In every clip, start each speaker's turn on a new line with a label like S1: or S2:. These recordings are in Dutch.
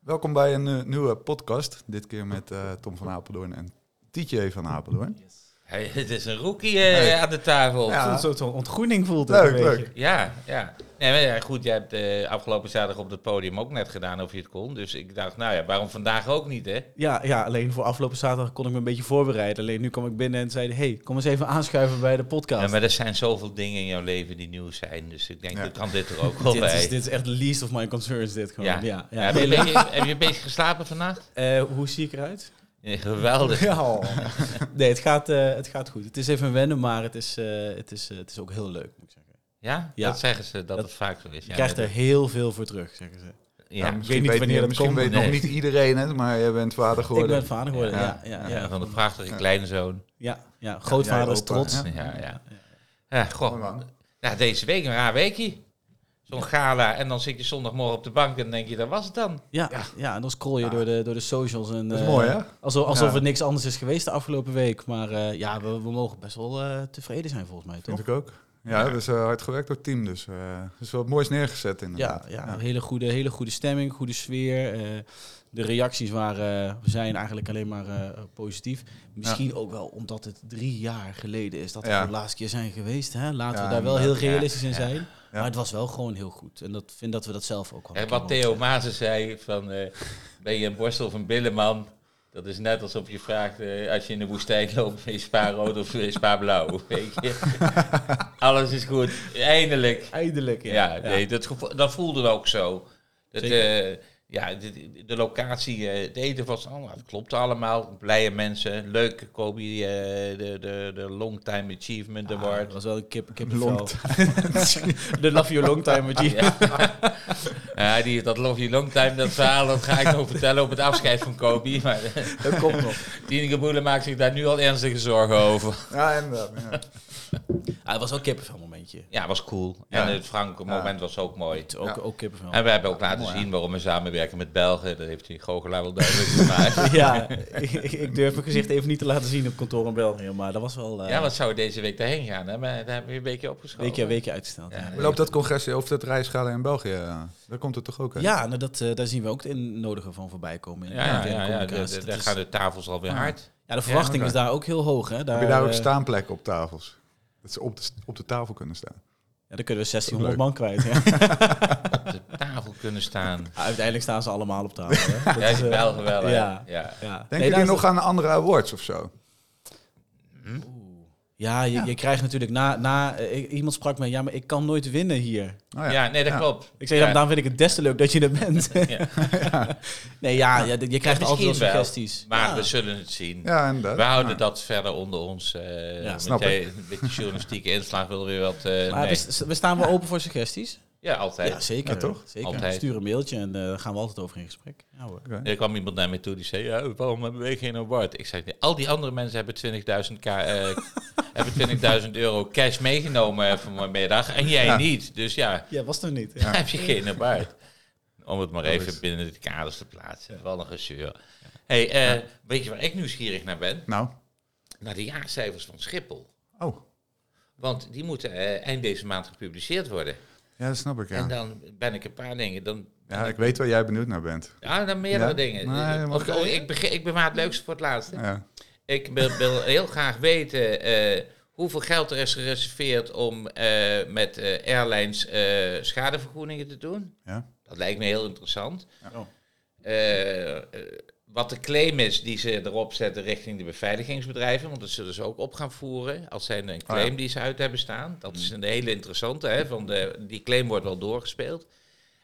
S1: Welkom bij een eh, nieuwe podcast. Dit keer met eh, Tom van Apeldoorn en Tietje van Apeldoorn.
S2: Hey, het is een rookie eh, aan de tafel. Ja,
S1: Ja.
S3: Een soort van ontgroening voelt het
S1: Leuk,
S3: een beetje.
S1: leuk.
S2: ja. Nee, maar ja, goed, jij hebt eh, afgelopen zaterdag op het podium ook net gedaan of je het kon. Dus ik dacht, nou ja, waarom vandaag ook niet, hè?
S3: Ja, ja, alleen voor afgelopen zaterdag kon ik me een beetje voorbereiden. Alleen nu kwam ik binnen en zeiden, hey, kom eens even aanschuiven bij de podcast.
S2: Ja, maar er zijn zoveel dingen in jouw leven die nieuw zijn. Dus ik denk,
S1: Ja.
S2: dat kan dit er ook wel
S3: dit, is,
S2: bij.
S3: dit is echt least of my concerns, dit gewoon. Ja. Ja,
S2: Ja, heb, je een beetje, heb je een beetje geslapen vannacht?
S3: Eh, hoe zie ik eruit?
S2: Nee, geweldig.
S3: Ja. Nee, het gaat, eh, het gaat goed. Het is even wennen, maar het is, eh, het is, eh, het is ook heel leuk, moet ik zeggen.
S2: Ja?
S3: Ja.
S2: Dat zeggen ze, dat,
S3: Dat-
S2: het vaak zo is.
S3: Je
S2: Ja,
S3: krijgt
S2: dat-
S3: er heel veel voor terug, zeggen ze.
S2: Ja,
S1: Nou, misschien
S3: weet niet
S1: weet,
S3: wanneer dat
S1: misschien
S3: komt.
S1: weet
S2: Nee.
S1: nog niet iedereen het, maar jij bent vader
S3: Ik
S1: geworden.
S3: ben vader geworden,
S1: Ja.
S3: ja. Ja, ja,
S2: Ja,
S3: ja.
S2: van de prachtige kleinzoon.
S3: ja. Grootvader
S1: jij
S3: is
S1: opa,
S3: trots.
S1: ja.
S2: Ja, ja. Ja, goh.
S1: Mooi man.
S2: Nou, deze week een raar weekje. Zo'n gala en dan zit je zondagmorgen op de bank en denk je, dat was het dan.
S3: Ja, ja. en dan scroll je door, de, door de socials. En,
S1: Dat is
S3: eh,
S1: mooi, hè?
S3: Alsof, alsof
S1: Ja.
S3: er niks anders is geweest de afgelopen week. Maar eh, ja, we, we mogen best wel eh, tevreden zijn volgens mij,
S1: Vind
S3: toch?
S1: ik ook. Ja, dat is eh, hard gewerkt door het team, dus eh er is wat moois neergezet
S3: Ja,
S1: inderdaad.
S3: ja, Hele, goede, hele goede stemming, goede sfeer. eh, de reacties waren, eh, zijn eigenlijk alleen maar eh, positief. Misschien ook wel omdat het drie jaar geleden is dat we
S1: Ja.
S3: voor de laatste keer zijn geweest. Hè? Laten
S1: Ja,
S3: we daar wel heel
S1: inderdaad.
S3: realistisch in
S2: Ja.
S3: zijn. Maar het was wel gewoon heel goed. En dat vind dat we dat zelf ook wel.
S2: En wat Theo Maasen zei, van, eh, ben je een borstel of een billenman? Dat is net alsof je vraagt, eh, als je in de woestijn loopt, is spa rood of is spa blauw? Weet je? Alles is goed, eindelijk.
S3: Eindelijk, ja.
S2: Ja, nee, dat, gevo- dat voelde we ook zo. Dat, eh, ja, de, de locatie, eh, het eten was allemaal, het klopte allemaal. Blije mensen, leuk, Kobe, eh, de, de, de Long Time Achievement
S3: Ah,
S2: Award.
S3: dat was wel een kip, kip
S1: Long
S3: De Love Your Long Time with you.
S2: Ja. Ja, die, dat Love You Long Time, dat verhaal, dat ga ik nog vertellen op het afscheid van Kobe. Maar
S3: Dat komt nog.
S2: Tineke Boele maakt zich daar nu al ernstige zorgen over.
S1: Ja, inderdaad. Ja.
S3: Ah, het was ook kippenvel momentje.
S2: Ja, was cool.
S1: Ja.
S2: En het Frank moment was ook mooi.
S3: Het Ook,
S1: Ja.
S3: ook kippenvel.
S2: En we hebben ook laten zien waarom we samenwerken met Belgen. Dat heeft die goochelaar wel duidelijk gemaakt.
S3: Ja, ik, ik durf mijn gezicht even niet te laten zien op kantoor in België, maar dat was wel eh,
S2: Ja, wat zou deze week daarheen gaan? Hè? Maar daar hebben we een beetje opgeschoven.
S3: weekje, weekje uitgesteld.
S2: Ja.
S3: Ja,
S1: Hoe loopt dat congres of dat reisgala in België? Ja, Daar komt het toch ook uit?
S3: Ja, nou, dat, eh, daar zien we ook het innodigen van voorbij komen. In
S2: Ja,
S3: de
S2: ja,
S3: interne
S2: ja, ja,
S3: communicatie.
S2: de- de-
S3: Dat
S2: daar
S3: is-
S2: gaan de tafels alweer hard.
S3: ja, de verwachting
S1: oké.
S3: is daar ook heel hoog. Hè. Daar,
S1: Heb je daar ook
S3: eh,
S1: staanplekken op tafels? Dat ze op de, op de tafel kunnen staan.
S3: Ja, dan kunnen we 1600
S1: Leuk.
S3: man kwijt. Ja.
S2: Op de tafel kunnen staan.
S3: Uiteindelijk staan ze allemaal op tafel. Hè. Dat
S2: Ja,
S3: is,
S2: is
S3: eh,
S2: Belgen wel. hè?
S3: ja.
S2: ja.
S3: ja. Nee,
S1: Denk
S3: daar
S1: jullie
S3: is-
S1: nog aan andere awards of zo? Oh
S3: Ja, je, je krijgt natuurlijk na... na eh, ik- iemand sprak mij, ja, maar ik kan nooit winnen hier.
S1: Oh,
S2: Ja. nee, dat klopt.
S3: Ik zei,
S2: Ja.
S3: ja, maar daarom vind ik het des te leuk dat je er bent.
S2: Ja.
S3: Nee, ja, ja, je krijgt altijd wel
S2: Misschien wel,
S3: suggesties.
S2: Maar
S3: Ja.
S2: we zullen het zien.
S1: Ja, inderdaad.
S2: We houden
S1: Ja.
S2: dat verder onder ons. eh
S3: Ja,
S2: met
S1: snap dus-
S2: de- Een beetje journalistieke inslag wil weer wat. eh,
S3: Maar
S2: nee.
S3: we, st- we staan wel open voor suggesties.
S2: Ja, altijd.
S3: Ja, zeker.
S1: Ja, toch?
S3: Zeker.
S2: Altijd.
S3: Stuur een mailtje en eh, daar gaan we altijd over in gesprek. Ja, hoor.
S1: Oké.
S2: Er kwam iemand naar me toe die zei: ja, Waarom hebben wij geen award? Ik zei: "Nee, Al die andere mensen hebben 20.000 ka- eh, hebben 20.000 euro cash meegenomen eh, vanmiddag en jij
S1: Ja.
S2: niet. Dus ja,
S3: Ja, was er niet.
S2: dan heb je geen award. Om het maar even
S1: is-
S2: binnen de kaders te plaatsen. Wel een gezeur. Hey, eh, weet je waar ik nieuwsgierig naar ben?
S1: Nou,
S2: Naar de jaarcijfers van Schiphol.
S1: oh.
S2: Want die moeten eh, eind deze maand gepubliceerd worden.
S1: Ja, dat snap ik, ja.
S2: En dan ben ik een paar dingen. Dan,
S1: Ja, ik weet waar jij benieuwd naar bent.
S2: ja, dan meerdere
S1: Ja?
S2: dingen.
S1: Nee,
S2: Of-
S1: mag ik-
S2: oh, ik, begin, ik bewaar het leukste voor het laatste.
S1: Ja.
S2: Ik wil, wil heel graag weten eh, hoeveel geld er is gereserveerd om eh, met eh, airlines eh, schadevergoedingen te doen.
S1: Ja.
S2: Dat lijkt me heel interessant.
S1: Ja.
S3: Oh.
S2: Eh, eh, wat de claim is die ze erop zetten richting de beveiligingsbedrijven, want dat zullen ze ook op gaan voeren als zij een claim
S1: Ah, ja.
S2: die ze uit hebben staan. Dat is een hele interessante, hè, van de, die claim wordt wel doorgespeeld.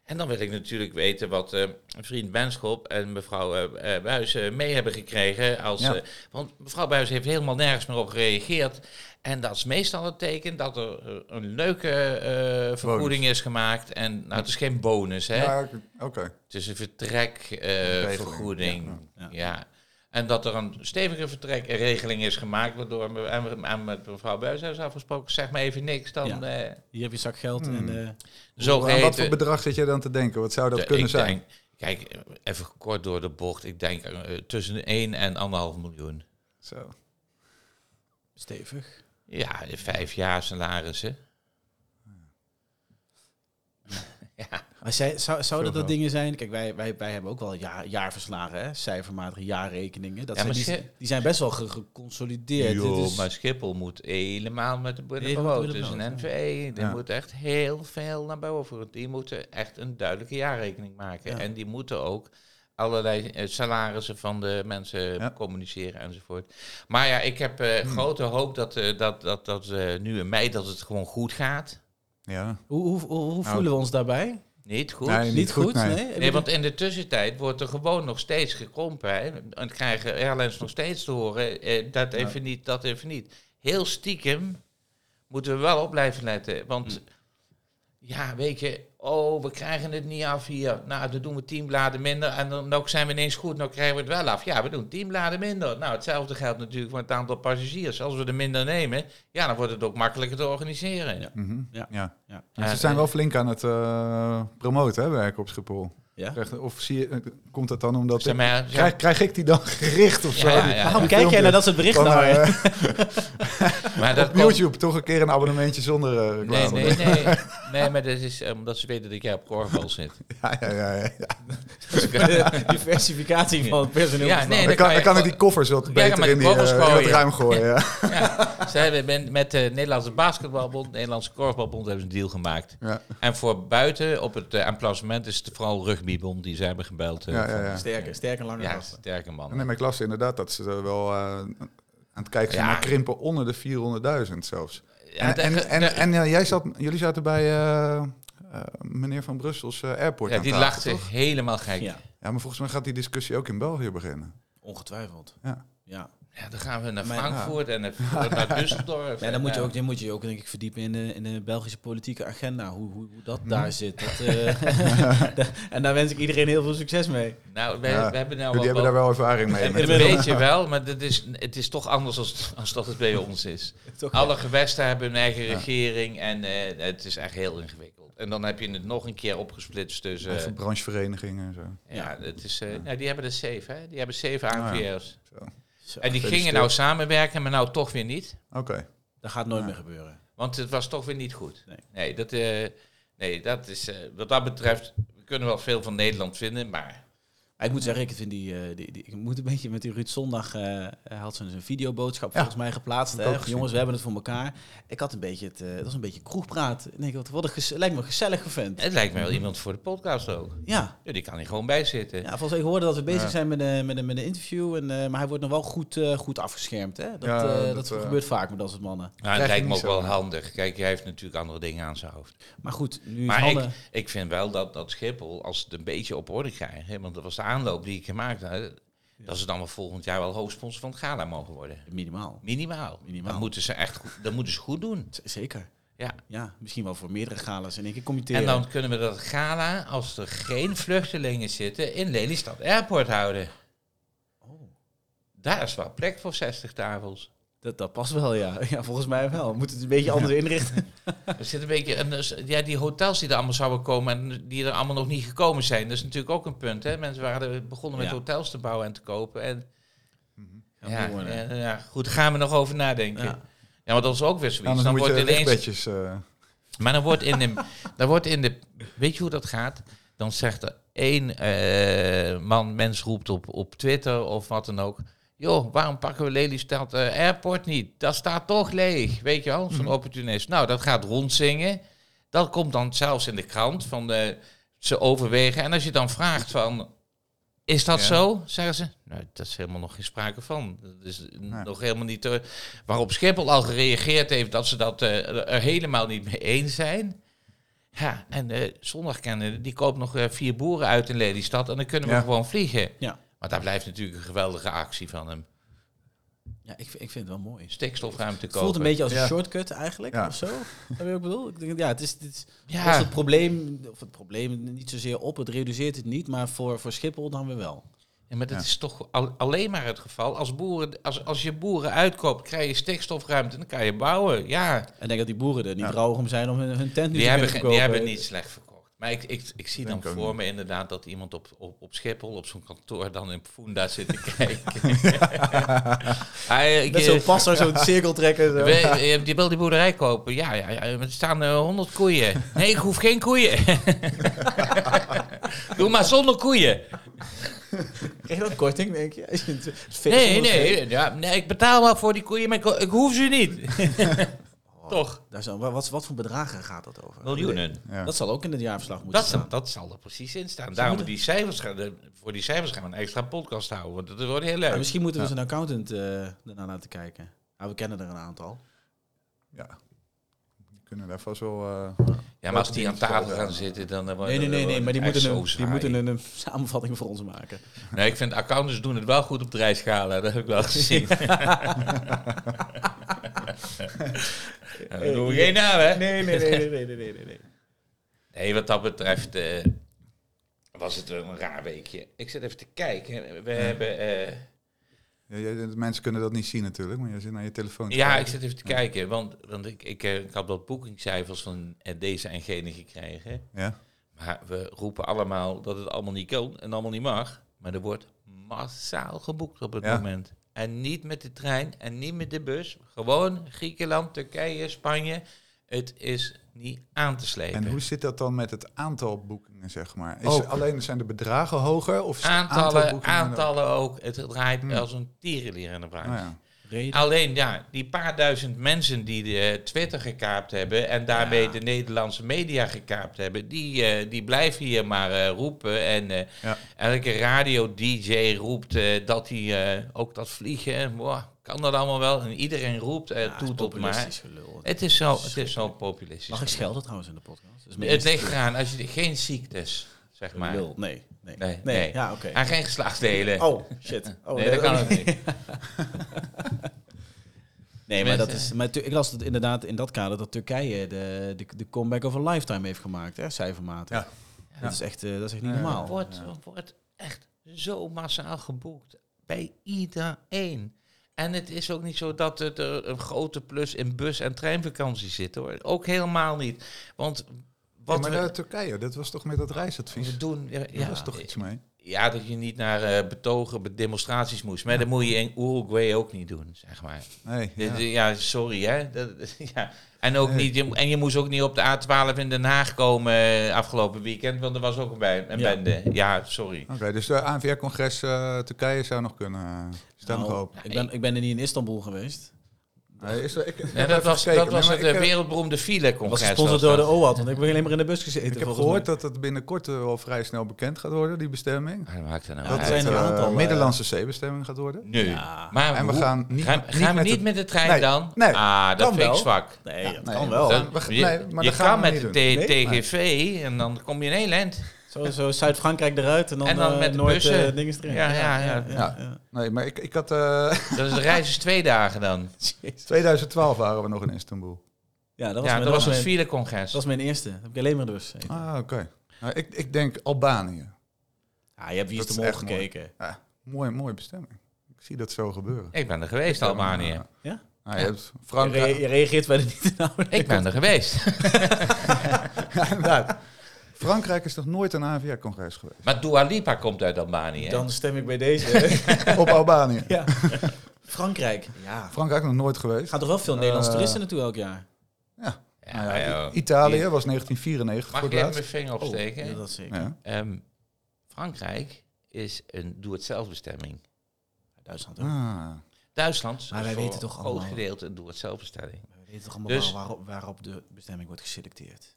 S2: En dan wil ik natuurlijk weten wat eh, vriend Benschop en mevrouw eh, eh, Buijs eh, mee hebben gekregen. Als,
S1: Ja.
S2: eh, want mevrouw Buijs heeft helemaal nergens meer op gereageerd. En dat is meestal het teken dat er eh, een leuke eh, vergoeding is gemaakt. En nou, het is geen bonus, hè?
S1: Ja, oké. oké.
S2: Het is een vertrekvergoeding.
S1: Regeling,
S2: eh, ja.
S3: ja.
S2: En dat er een stevige vertrekregeling is gemaakt, waardoor we en we- en met mevrouw Buijshuis afgesproken, zeg maar even niks, dan
S3: Ja.
S2: eh
S3: Hier heb je een zak geld en eh,
S2: zo
S1: Aan wat voor
S2: geheten.
S1: bedrag zit jij dan te denken? Wat zou dat
S2: eh. Ja,
S1: kunnen
S2: ik
S1: zijn?
S2: denk- kijk, even kort door de bocht, ik denk eh, tussen 1 en 1,5 miljoen.
S1: Zo.
S3: stevig.
S2: Ja, vijf jaar salarissen.
S3: Maar zij, zou, zouden
S1: Veel
S3: dat dingen zijn? Kijk, wij, wij, wij hebben ook wel jaar, jaarverslagen, hè? cijfermatige jaarrekeningen. Dat
S2: Ja,
S3: zijn,
S2: maar
S3: die,
S2: ze-
S3: die zijn best wel ge- geconsolideerd. Dus
S2: Joh,
S3: Dit is-
S2: maar Schiphol moet helemaal met de brood
S3: Helemaal
S2: brood.
S3: met de
S2: Dus
S3: brood,
S2: een NVE, die
S1: Ja.
S2: moet echt heel veel naar boven. Die moeten echt een duidelijke jaarrekening maken.
S3: Ja.
S2: En die moeten ook allerlei eh, salarissen van de mensen
S1: Ja.
S2: communiceren enzovoort. Maar ja, ik heb eh, grote hoop dat, eh, dat, dat, dat eh, nu in mei dat het gewoon goed gaat.
S1: Ja.
S3: Hoe, hoe, hoe, hoe voelen we ons daarbij?
S2: Nou, Niet goed.
S1: Nee,
S2: Nee.
S1: niet
S3: Niet goed?
S1: goed, nee.
S3: nee?
S2: want in de tussentijd wordt er gewoon nog steeds gekrompen. Hè. En krijgen airlines nog steeds te horen, eh, dat even niet, dat even niet. Heel stiekem moeten we wel op blijven letten. Want
S1: Hm.
S2: ja, weet je, oh, we krijgen het niet af hier. Nou, dan doen we tien bladen minder en dan nou zijn we ineens goed, nou krijgen we het wel af. Ja, we doen tien bladen minder. Nou, hetzelfde geldt natuurlijk voor het aantal passagiers. Als we er minder nemen, ja, dan wordt het ook makkelijker te organiseren.
S3: Ja.
S1: Mhm.
S3: Ja.
S1: ja.
S3: Ja.
S1: Want
S2: Ja,
S1: ze zijn
S2: eh,
S1: wel flink aan het eh, promoten, hè, werken op Schiphol.
S3: Ja?
S1: Krijg- Of zie je, eh, komt dat dan omdat...
S2: Zeg
S1: ik-
S2: maar, ja,
S1: krijg, krijg ik die dan gericht of zo?
S2: Ja,
S1: Die-
S2: ja,
S3: Waarom
S1: die
S3: kijk jij
S1: filmpjes
S3: naar dat soort berichten?
S1: van,
S3: nou, hè?
S1: eh,
S2: maar dat
S1: op
S2: komt-
S1: YouTube toch een keer een abonnementje zonder eh,
S2: Nee,
S1: reclame.
S2: nee, nee. Nee, maar dat is eh, omdat ze weten dat jij op Corval zit.
S1: Ja, ja, ja, ja.
S3: De diversificatie van het personeel.
S2: Ja, nee,
S1: Dan,
S2: dan
S1: kan,
S2: kan je-
S1: dan kan ik die koffers wat
S2: Ja, maar
S1: beter
S2: die
S1: in, die, eh,
S2: koffers
S1: in dat
S2: gooien.
S1: ruim gooien. Ja.
S2: Ja, ze hebben met, met de Nederlandse Basketbalbond, Nederlandse Korfbalbond hebben ze een deal gemaakt.
S1: Ja.
S2: En voor buiten op het eh, emplacement is het vooral rugbybond die ze hebben gebeld. eh,
S1: Ja,
S2: van-
S1: ja, ja.
S3: Sterke, sterke lange
S2: Ja,
S3: gasten.
S2: sterke man.
S1: Nee, maar ik las inderdaad dat ze er wel eh, aan het kijken zijn
S2: Ja.
S1: naar krimpen onder de 400.000 zelfs.
S2: Ja,
S1: En, en,
S2: de-
S1: en,
S2: de-
S1: en, eh, jij zat, jullie zaten bij eh, eh, meneer van Brussels eh, airport
S2: ja,
S1: aan
S2: die
S1: tafel,
S2: lacht
S1: toch?
S2: zich helemaal gek. Ja.
S3: Ja,
S1: Ja, maar volgens mij gaat die discussie ook in België beginnen.
S3: ongetwijfeld.
S1: Ja.
S3: Ja.
S2: dan gaan we naar
S3: Maar-
S2: Frankfurt en naar, naar Düsseldorf.
S3: Ja, dan moet je
S2: En, eh,
S3: ook, dan moet je je ook denk ik verdiepen in de, in de Belgische politieke agenda. Hoe, hoe, hoe
S1: Mhm.
S3: dat daar zit. Dat, eh, en daar wens ik iedereen heel veel succes mee.
S2: eh, Nou, we,
S1: Ja,
S2: we hebben nou
S1: Jullie hebben daar wel ervaring mee.
S2: Een
S1: met-
S2: een beetje wel, maar dat is, het is toch anders als, als dat het bij ons is.
S3: Toch?
S2: Alle gewesten hebben hun eigen regering en eh, het is echt heel ingewikkeld. En dan heb je het nog een keer opgesplitst tussen...
S1: Even brancheverenigingen en zo.
S2: eh, ja, het is, eh, nou, die hebben de safe, hè? Die hebben safe
S1: Ah, ja.
S2: AVR's.
S1: Zo.
S3: Zo,
S2: En die gingen
S1: Gefeliciteerd.
S2: nou samenwerken, maar nou toch weer niet.
S1: Oké.
S3: dat gaat nooit meer gebeuren.
S2: Want het was toch weer niet goed.
S3: Nee.
S2: Nee, dat, eh, nee dat is... eh, wat dat betreft, we kunnen wel veel van Nederland vinden, maar...
S3: Maar ik moet zeggen, ik vind die, eh, die, die- ik moet een beetje met die Ruud Zondag, eh, hij had zo'n zo'n videoboodschap
S1: Ja.
S3: volgens mij geplaatst.
S1: Heb ik
S3: Hè?
S1: ook gezien.
S3: Jongens, we hebben het voor elkaar. Ik had een beetje, het, eh, het was een beetje kroegpraat. Ik denk, wat, wat een gez- lijkt me een gezellige vent.
S2: Het lijkt me wel iemand voor de podcast ook.
S3: Ja,
S2: Ja, die kan hier gewoon bij zitten.
S3: Ja, volgens mij ik hoorde dat we bezig
S1: Ja.
S3: zijn met een, met een, met een interview. En, eh, maar hij wordt nog wel goed, eh, goed afgeschermd. Hè? Dat,
S1: Ja,
S3: eh, dat,
S1: dat, eh,
S3: gebeurt vaak met dat soort mannen.
S2: Nou,
S1: Krijg je
S2: het lijkt me ook
S1: niet
S2: wel
S1: zo.
S2: handig. Kijk, hij heeft natuurlijk andere dingen aan zijn hoofd.
S3: Maar goed, nu is
S2: Maar ik,
S3: Hanne...
S2: ik vind wel dat, dat Schiphol, als ze het een beetje op orde krijgen, hè, want dat was de aanloop die ik gemaakt had, dat ze dan wel volgend jaar wel hoofdsponsor van het gala mogen worden.
S3: Minimaal.
S2: Minimaal.
S3: Minimaal.
S2: Dan moeten ze echt goed, dan moeten ze goed doen.
S3: Z- Zeker.
S2: Ja.
S3: Ja, misschien wel voor meerdere galas in één keer committeren.
S2: En dan kunnen we dat gala, als er geen vluchtelingen zitten, in Lelystad Airport houden.
S3: Oh,
S2: Daar is wel plek voor 60 tafels.
S3: dat, dat past wel, ja. ja. Volgens mij wel. We moeten het een beetje anders inrichten.
S2: Er zit een beetje, en dus, ja, die hotels die er allemaal zouden komen en die er allemaal nog niet gekomen zijn, dat is natuurlijk ook een punt. Hè? Mensen waren er- begonnen met
S3: Ja.
S2: hotels te bouwen en te kopen. En Ja,
S3: mooi worden.
S2: ja, ja, goed, daar gaan we nog over nadenken.
S3: Ja.
S2: Ja, want dat is ook weer zoiets.
S1: Anders
S2: dan
S1: Nou, moet
S2: wordt
S1: je
S2: ineens,
S1: lichtbedjes... eh,
S2: maar dan wordt in de, dan wordt in de... Weet je hoe dat gaat? Dan zegt er één eh, man, mens roept op, op Twitter of wat dan ook... joh, waarom pakken we Lelystad eh, Airport niet? Dat staat toch leeg, weet je wel? Zo'n opportunist. Nou, dat gaat rondzingen. Dat komt dan zelfs in de krant van de, ze overwegen. En als je dan vraagt van... Is dat
S1: Ja.
S2: zo? Zeggen ze. Nou, dat is helemaal nog geen sprake van. Dat is
S1: Nee.
S2: nog helemaal niet. eh, waarop Schiphol al gereageerd heeft dat ze dat eh, er helemaal niet mee eens zijn. Ja, en eh zondag kennen, die koopt nog eh, vier boeren uit in Lelystad. En dan kunnen we
S1: Ja.
S2: gewoon vliegen.
S3: Ja.
S2: Maar daar blijft natuurlijk een geweldige actie van hem.
S3: Ja, ik, vind- ik vind het wel mooi.
S2: Stikstofruimte
S3: Het
S2: kopen.
S3: voelt een beetje als een
S1: Ja.
S3: shortcut eigenlijk,
S1: Ja.
S3: of zo. Heb je ook bedoeld? Ik denk, ja, het is, het is
S2: Ja.
S3: lost het probleem, of het probleem niet zozeer op, het reduceert het niet, maar voor, voor Schiphol dan weer wel.
S2: Ja, maar dat
S1: Ja.
S2: is toch al- alleen maar het geval. Als, boeren, als, als je boeren uitkoopt, krijg je stikstofruimte en dan kan je bouwen. Ja,
S3: En ik denk dat die boeren er niet rauw om zijn om hun, hun tent nu
S2: die
S3: te
S2: hebben, geen-
S3: kunnen verkopen.
S2: die hebben niet slecht verkocht. Maar ik, ik, ik zie
S1: Denk
S2: dan
S1: ook
S2: voor
S1: niet.
S2: me inderdaad dat iemand op, op, op Schiphol, op zo'n kantoor, dan in Funda zit te kijken. Hij- ik- eh,
S3: Met zo'n passer, zo'n cirkel trekken. Zo.
S2: we- eh, die wil die boerderij kopen. Ja, ja, ja er staan eh, honderd koeien. Nee, ik hoef geen koeien. Doe maar zonder koeien.
S3: Krijg je dat korting, denk je? Als je het feest
S2: Nee,
S3: ondersteekt.
S2: nee, ja, nee, ik betaal wel voor die koeien, maar ik, ik hoef ze niet. Toch?
S3: Daar zo, wat, wat voor bedragen gaat dat over?
S2: Miljoenen.
S1: Ja.
S3: Dat zal ook in het jaarverslag moeten
S2: Dat, zal-
S3: staan.
S2: dat zal er precies in staan. Daarom die cijfers gaan, de- voor die cijfers gaan we een extra podcast houden, want dat wordt heel
S3: Ja,
S2: leuk.
S3: misschien moeten we eens een accountant eh daarna laten kijken. Nou, we kennen er een aantal.
S2: Oh,
S1: ja. We kunnen daar vast wel... eh,
S2: Ja, maar als die aan tafel gaan zitten, dan eh, wordt
S3: Nee, nee, nee,
S2: wordt
S3: nee maar die
S2: het echt
S3: moeten, een,
S2: zo
S3: die
S2: saai.
S3: moeten een, een samenvatting voor ons maken.
S2: Nee, ik vind accountants doen het wel goed op drijfschalen, dat heb ik wel gezien. Ja, we doen geen naam, hè?
S3: Nee, nee, nee, nee, nee, nee, nee. nee.
S2: Nee, wat dat betreft eh, was het wel een raar weekje. Ik zit even te kijken. We hebben. eh,
S1: ja, jij- de mensen kunnen dat niet zien natuurlijk, maar jij zit naar je telefoon te
S2: ja, ik
S1: kijken.
S2: zit even te kijken. Want, want ik, ik, eh, ik had wat boekingcijfers van eh, deze en gene gekregen.
S1: Ja?
S2: Maar we roepen allemaal dat het allemaal niet kan en allemaal niet mag. Maar er wordt massaal geboekt op het
S1: Ja.
S2: moment. En niet met de trein en niet met de bus. Gewoon Griekenland, Turkije, Spanje. Het is niet aan te slepen.
S1: En hoe zit dat dan met het aantal boekingen, zeg maar? Is
S2: Ook.
S1: alleen zijn de bedragen hoger
S3: Dus
S1: of is het aantal
S2: Aantallen,
S1: boekingen-
S2: aantallen ook. Het draait
S3: Mm.
S1: Hmm.
S2: als een tierenlier aan de praat.
S1: Nou ja.
S3: Reden.
S2: Alleen ja, die paar duizend mensen die de Twitter gekaapt hebben en daarmee de Nederlandse media gekaapt hebben, die, eh, die blijven hier maar eh, roepen. En eh,
S1: Ja.
S2: elke radio-DJ roept eh, dat hij eh, ook dat vliegen, wow, kan dat allemaal wel? En iedereen roept, eh
S3: Ja, het is
S2: doet tot maar.
S3: populistisch gelul.
S2: Het is zo, het is zo populistisch.
S3: Mag ik schelden trouwens in de podcast? Dat is mijn
S2: het
S3: eerste
S2: ligt eraan als je geen ziektes, zeg maar.
S3: lul. Nee, nee,
S2: Nee,
S3: nee.
S2: nee.
S3: Ja, oké.
S2: En geen geslachtsdelen.
S3: Oh, shit. Oh,
S2: nee, dat kan ook niet.
S3: Nee, maar, dat
S2: Mensen.
S3: is, maar tu- ik las het inderdaad in dat kader dat Turkije de, de, de comeback of a lifetime heeft gemaakt, hè, cijfermatig.
S1: Ja.
S3: Dat, is echt, eh, dat is echt niet normaal.
S1: Oh,
S2: wordt, wordt echt zo massaal geboekt. Bij iedereen. En het is ook niet zo dat het er een grote plus in bus- en treinvakantie zit hoor. Ook helemaal niet. Want
S1: Ja,
S2: wat
S1: maar
S2: we,
S1: naar Turkije, dat was toch met dat reisadvies?
S2: we doen. Ja,
S1: Daar was toch iets mee?
S2: ja, dat je niet naar eh, betogen, be- demonstraties moest. Maar dat moet je in Uruguay ook niet doen, zeg maar.
S1: Nee,
S2: Ja,
S1: ja.
S2: ja sorry hè. Dat, ja. En, ook
S1: Nee.
S2: niet, je- en je moest ook niet op de A12 in Den Haag komen eh, afgelopen weekend, want er was ook een, bij, een
S3: Ja.
S2: bende. Ja, sorry.
S1: Oké, dus de ANVR-congres eh, Turkije zou nog kunnen. Is daar nog
S3: Nou,
S1: hoop?
S3: ik, ben, ik ben er niet in Istanbul geweest.
S1: Nee, is er- ik, ik heb
S2: Ja,
S1: even
S2: dat was,
S1: gekeken.
S2: dat was
S1: Nee,
S2: het
S1: maar ik,
S2: eh,
S1: eh,
S2: wereldberoemde
S3: Dat was
S2: file-congres.
S3: gesponsord
S2: was
S3: door de
S2: dat.
S3: OAT, want ik ben alleen maar in de bus gezeten.
S1: Ik heb
S3: volgens
S1: gehoord
S3: mij.
S1: dat het binnenkort eh, wel vrij snel bekend gaat worden, die bestemming.
S2: Maar dat maakt er nou
S3: Dat
S2: uit.
S3: zijn
S1: het,
S3: een
S1: eh,
S3: aantal, eh,
S1: Middellandse zeebestemming gaat worden.
S2: Nee.
S3: Ja.
S2: Maar
S1: En we
S2: hoe-
S1: gaan niet,
S2: gaan, gaan we niet met de trein
S1: Nee,
S2: dan?
S1: nee,
S2: ah, dat
S3: kan
S2: vind ik
S3: wel.
S2: zwak.
S3: Nee, dat
S1: nee,
S3: kan
S1: dat-
S3: wel.
S1: Dan- we-
S2: je
S1: nee, maar
S2: je
S1: dat gaan
S2: kan
S1: we
S2: met
S1: niet
S2: de T-
S1: doen. Nee, maar-
S2: TGV en dan kom je in heel eind.
S3: Zo, zo Zuid-Frankrijk eruit en dan,
S2: En dan
S3: eh,
S2: met de
S3: Noord,
S2: bussen.
S3: eh, dingen erin.
S2: Ja, ja, ja.
S1: Ja. Nee, maar ik, ik had. eh,
S2: Dat is de reis is twee dagen dan.
S3: Jezus.
S1: 2012 waren we nog in Istanbul.
S3: Ja, dat was,
S2: Ja,
S3: mijn,
S2: dat was het
S3: mijn,
S2: file-congres.
S3: dat was mijn eerste. Dat heb ik alleen maar in de bus gezeten.
S1: Ah, oké. Nou, ik, ik denk Albanië.
S3: Ja, je hebt Wie
S1: Dat
S3: is de
S1: is
S3: Mol
S1: echt mooi.
S3: gekeken.
S1: Ja, mooie, mooie bestemming. Ik zie dat zo gebeuren.
S2: Ik ben er geweest, Albanië.
S3: Ja?
S1: Nou, je hebt
S3: Je, re-
S1: Frankrijk,
S3: je reageert verder niet nauwelijks.
S2: Ik ben er geweest.
S1: Ja, inderdaad. Frankrijk is nog nooit een AVR-congres geweest.
S2: Maar Dua Lipa komt uit Albanië. hè?
S3: Dan stem ik bij deze.
S1: Op Albanië.
S3: ja. Frankrijk. Ja.
S1: Frankrijk nog nooit geweest.
S3: Gaan toch wel veel Nederlandse
S1: Eh,
S3: toeristen naartoe elk jaar?
S1: Ja.
S2: Ja,
S1: Nou ja,
S2: ja,
S1: I- Italië was 1994
S2: Mag
S1: voor
S2: ik
S1: het
S2: even
S1: laatst. Oh,
S2: mijn vinger opsteken?
S3: Oh, Ja, dat zeker.
S1: Ja.
S2: Ehm, Frankrijk is een doe-het-zelfbestemming.
S3: Duitsland ook.
S1: Ah,
S2: Duitsland is
S3: Maar wij
S2: voor
S3: weten toch
S2: een groot
S3: allemaal-
S2: gedeelte een doe-het-zelfbestemming.
S3: We weten toch allemaal
S2: Dus-
S3: waar- waarop, waarop de bestemming wordt geselecteerd.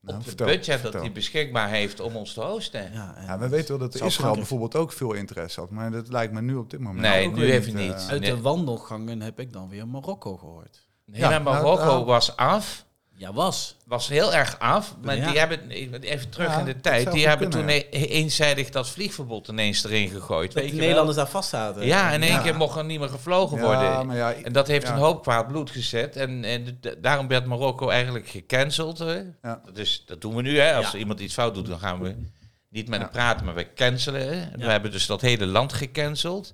S1: nou,
S2: op het
S1: vertel,
S2: budget dat
S1: vertel.
S2: hij beschikbaar heeft om ons te hosten.
S3: Ja, en dus
S1: Ja, we weten wel dat
S3: Zou
S1: Israël
S3: Frankrijk-
S1: bijvoorbeeld ook veel interesse had. Maar dat lijkt me nu op dit moment
S2: Nee,
S1: ook
S2: nu
S1: weer
S2: even
S1: eh,
S2: niet.
S3: Uit
S2: Nee.
S3: de wandelgangen heb ik dan weer Marokko gehoord.
S2: Hele
S1: Ja,
S2: Marokko
S1: nou, nou-
S2: was af.
S3: Ja, was.
S2: Was heel erg af. Maar
S3: Ja.
S2: die hebben, even terug
S1: Ja,
S2: in de
S1: dat
S2: tijd,
S1: zou
S2: die
S1: goed
S2: hebben
S1: kunnen,
S2: toen e- eenzijdig dat vliegverbod ineens erin gegooid. weet
S3: Dat de
S2: je wel?
S3: Nederlanders daar vast zaten.
S2: Ja, in één
S1: Ja.
S2: keer mocht er niet meer gevlogen
S1: Ja,
S2: worden.
S1: maar ja,
S2: En dat heeft
S1: ja.
S2: een hoop kwaad bloed gezet. En, en d- daarom werd Marokko eigenlijk gecanceld. Hè?
S1: Ja.
S2: Dat, is, dat doen we nu. Hè? Als
S3: Ja.
S2: iemand iets fout doet, dan gaan we Niet met
S1: Ja.
S2: het praten, maar we cancelen. We hebben dus dat hele land gecanceld.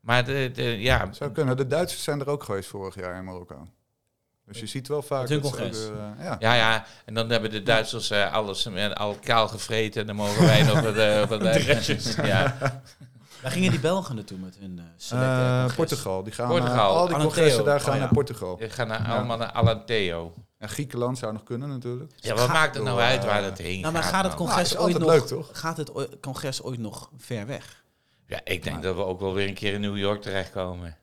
S2: Maar de, de, ja,
S1: Zou kunnen. De Duitsers zijn er ook geweest vorig jaar in Marokko. Dus je ziet wel vaak...
S3: Met hun
S1: dat ze
S3: congres.
S1: ook, eh, ja.
S2: ja, ja, en dan hebben de Duitsers eh, alles eh, al kaal gevreten. En dan mogen wij nog wat... eh, wat eh, ja.
S3: Waar gingen die Belgen naartoe met hun eh selecte
S1: Eh,
S3: congres?
S1: Portugal. Die gaan
S2: Portugal.
S1: naar- al die
S3: Alan
S1: congressen
S3: Theo.
S1: daar gaan
S3: Oh, ja.
S1: naar Portugal.
S2: We gaan naar, allemaal naar Alanteo.
S1: En Griekenland zou nog kunnen natuurlijk.
S2: Ja, wat
S3: Ga-
S2: maakt het nou
S1: door,
S2: uit
S1: eh,
S2: waar het heen
S3: Nou, maar
S2: gaat?
S3: gaat het
S2: man?
S3: congres
S1: Nou, is
S3: ooit
S1: altijd
S3: nog...
S1: leuk, toch?
S3: Gaat het ooit- congres ooit nog ver weg?
S2: Ja, ik denk dat we ook wel weer een keer in New York terechtkomen.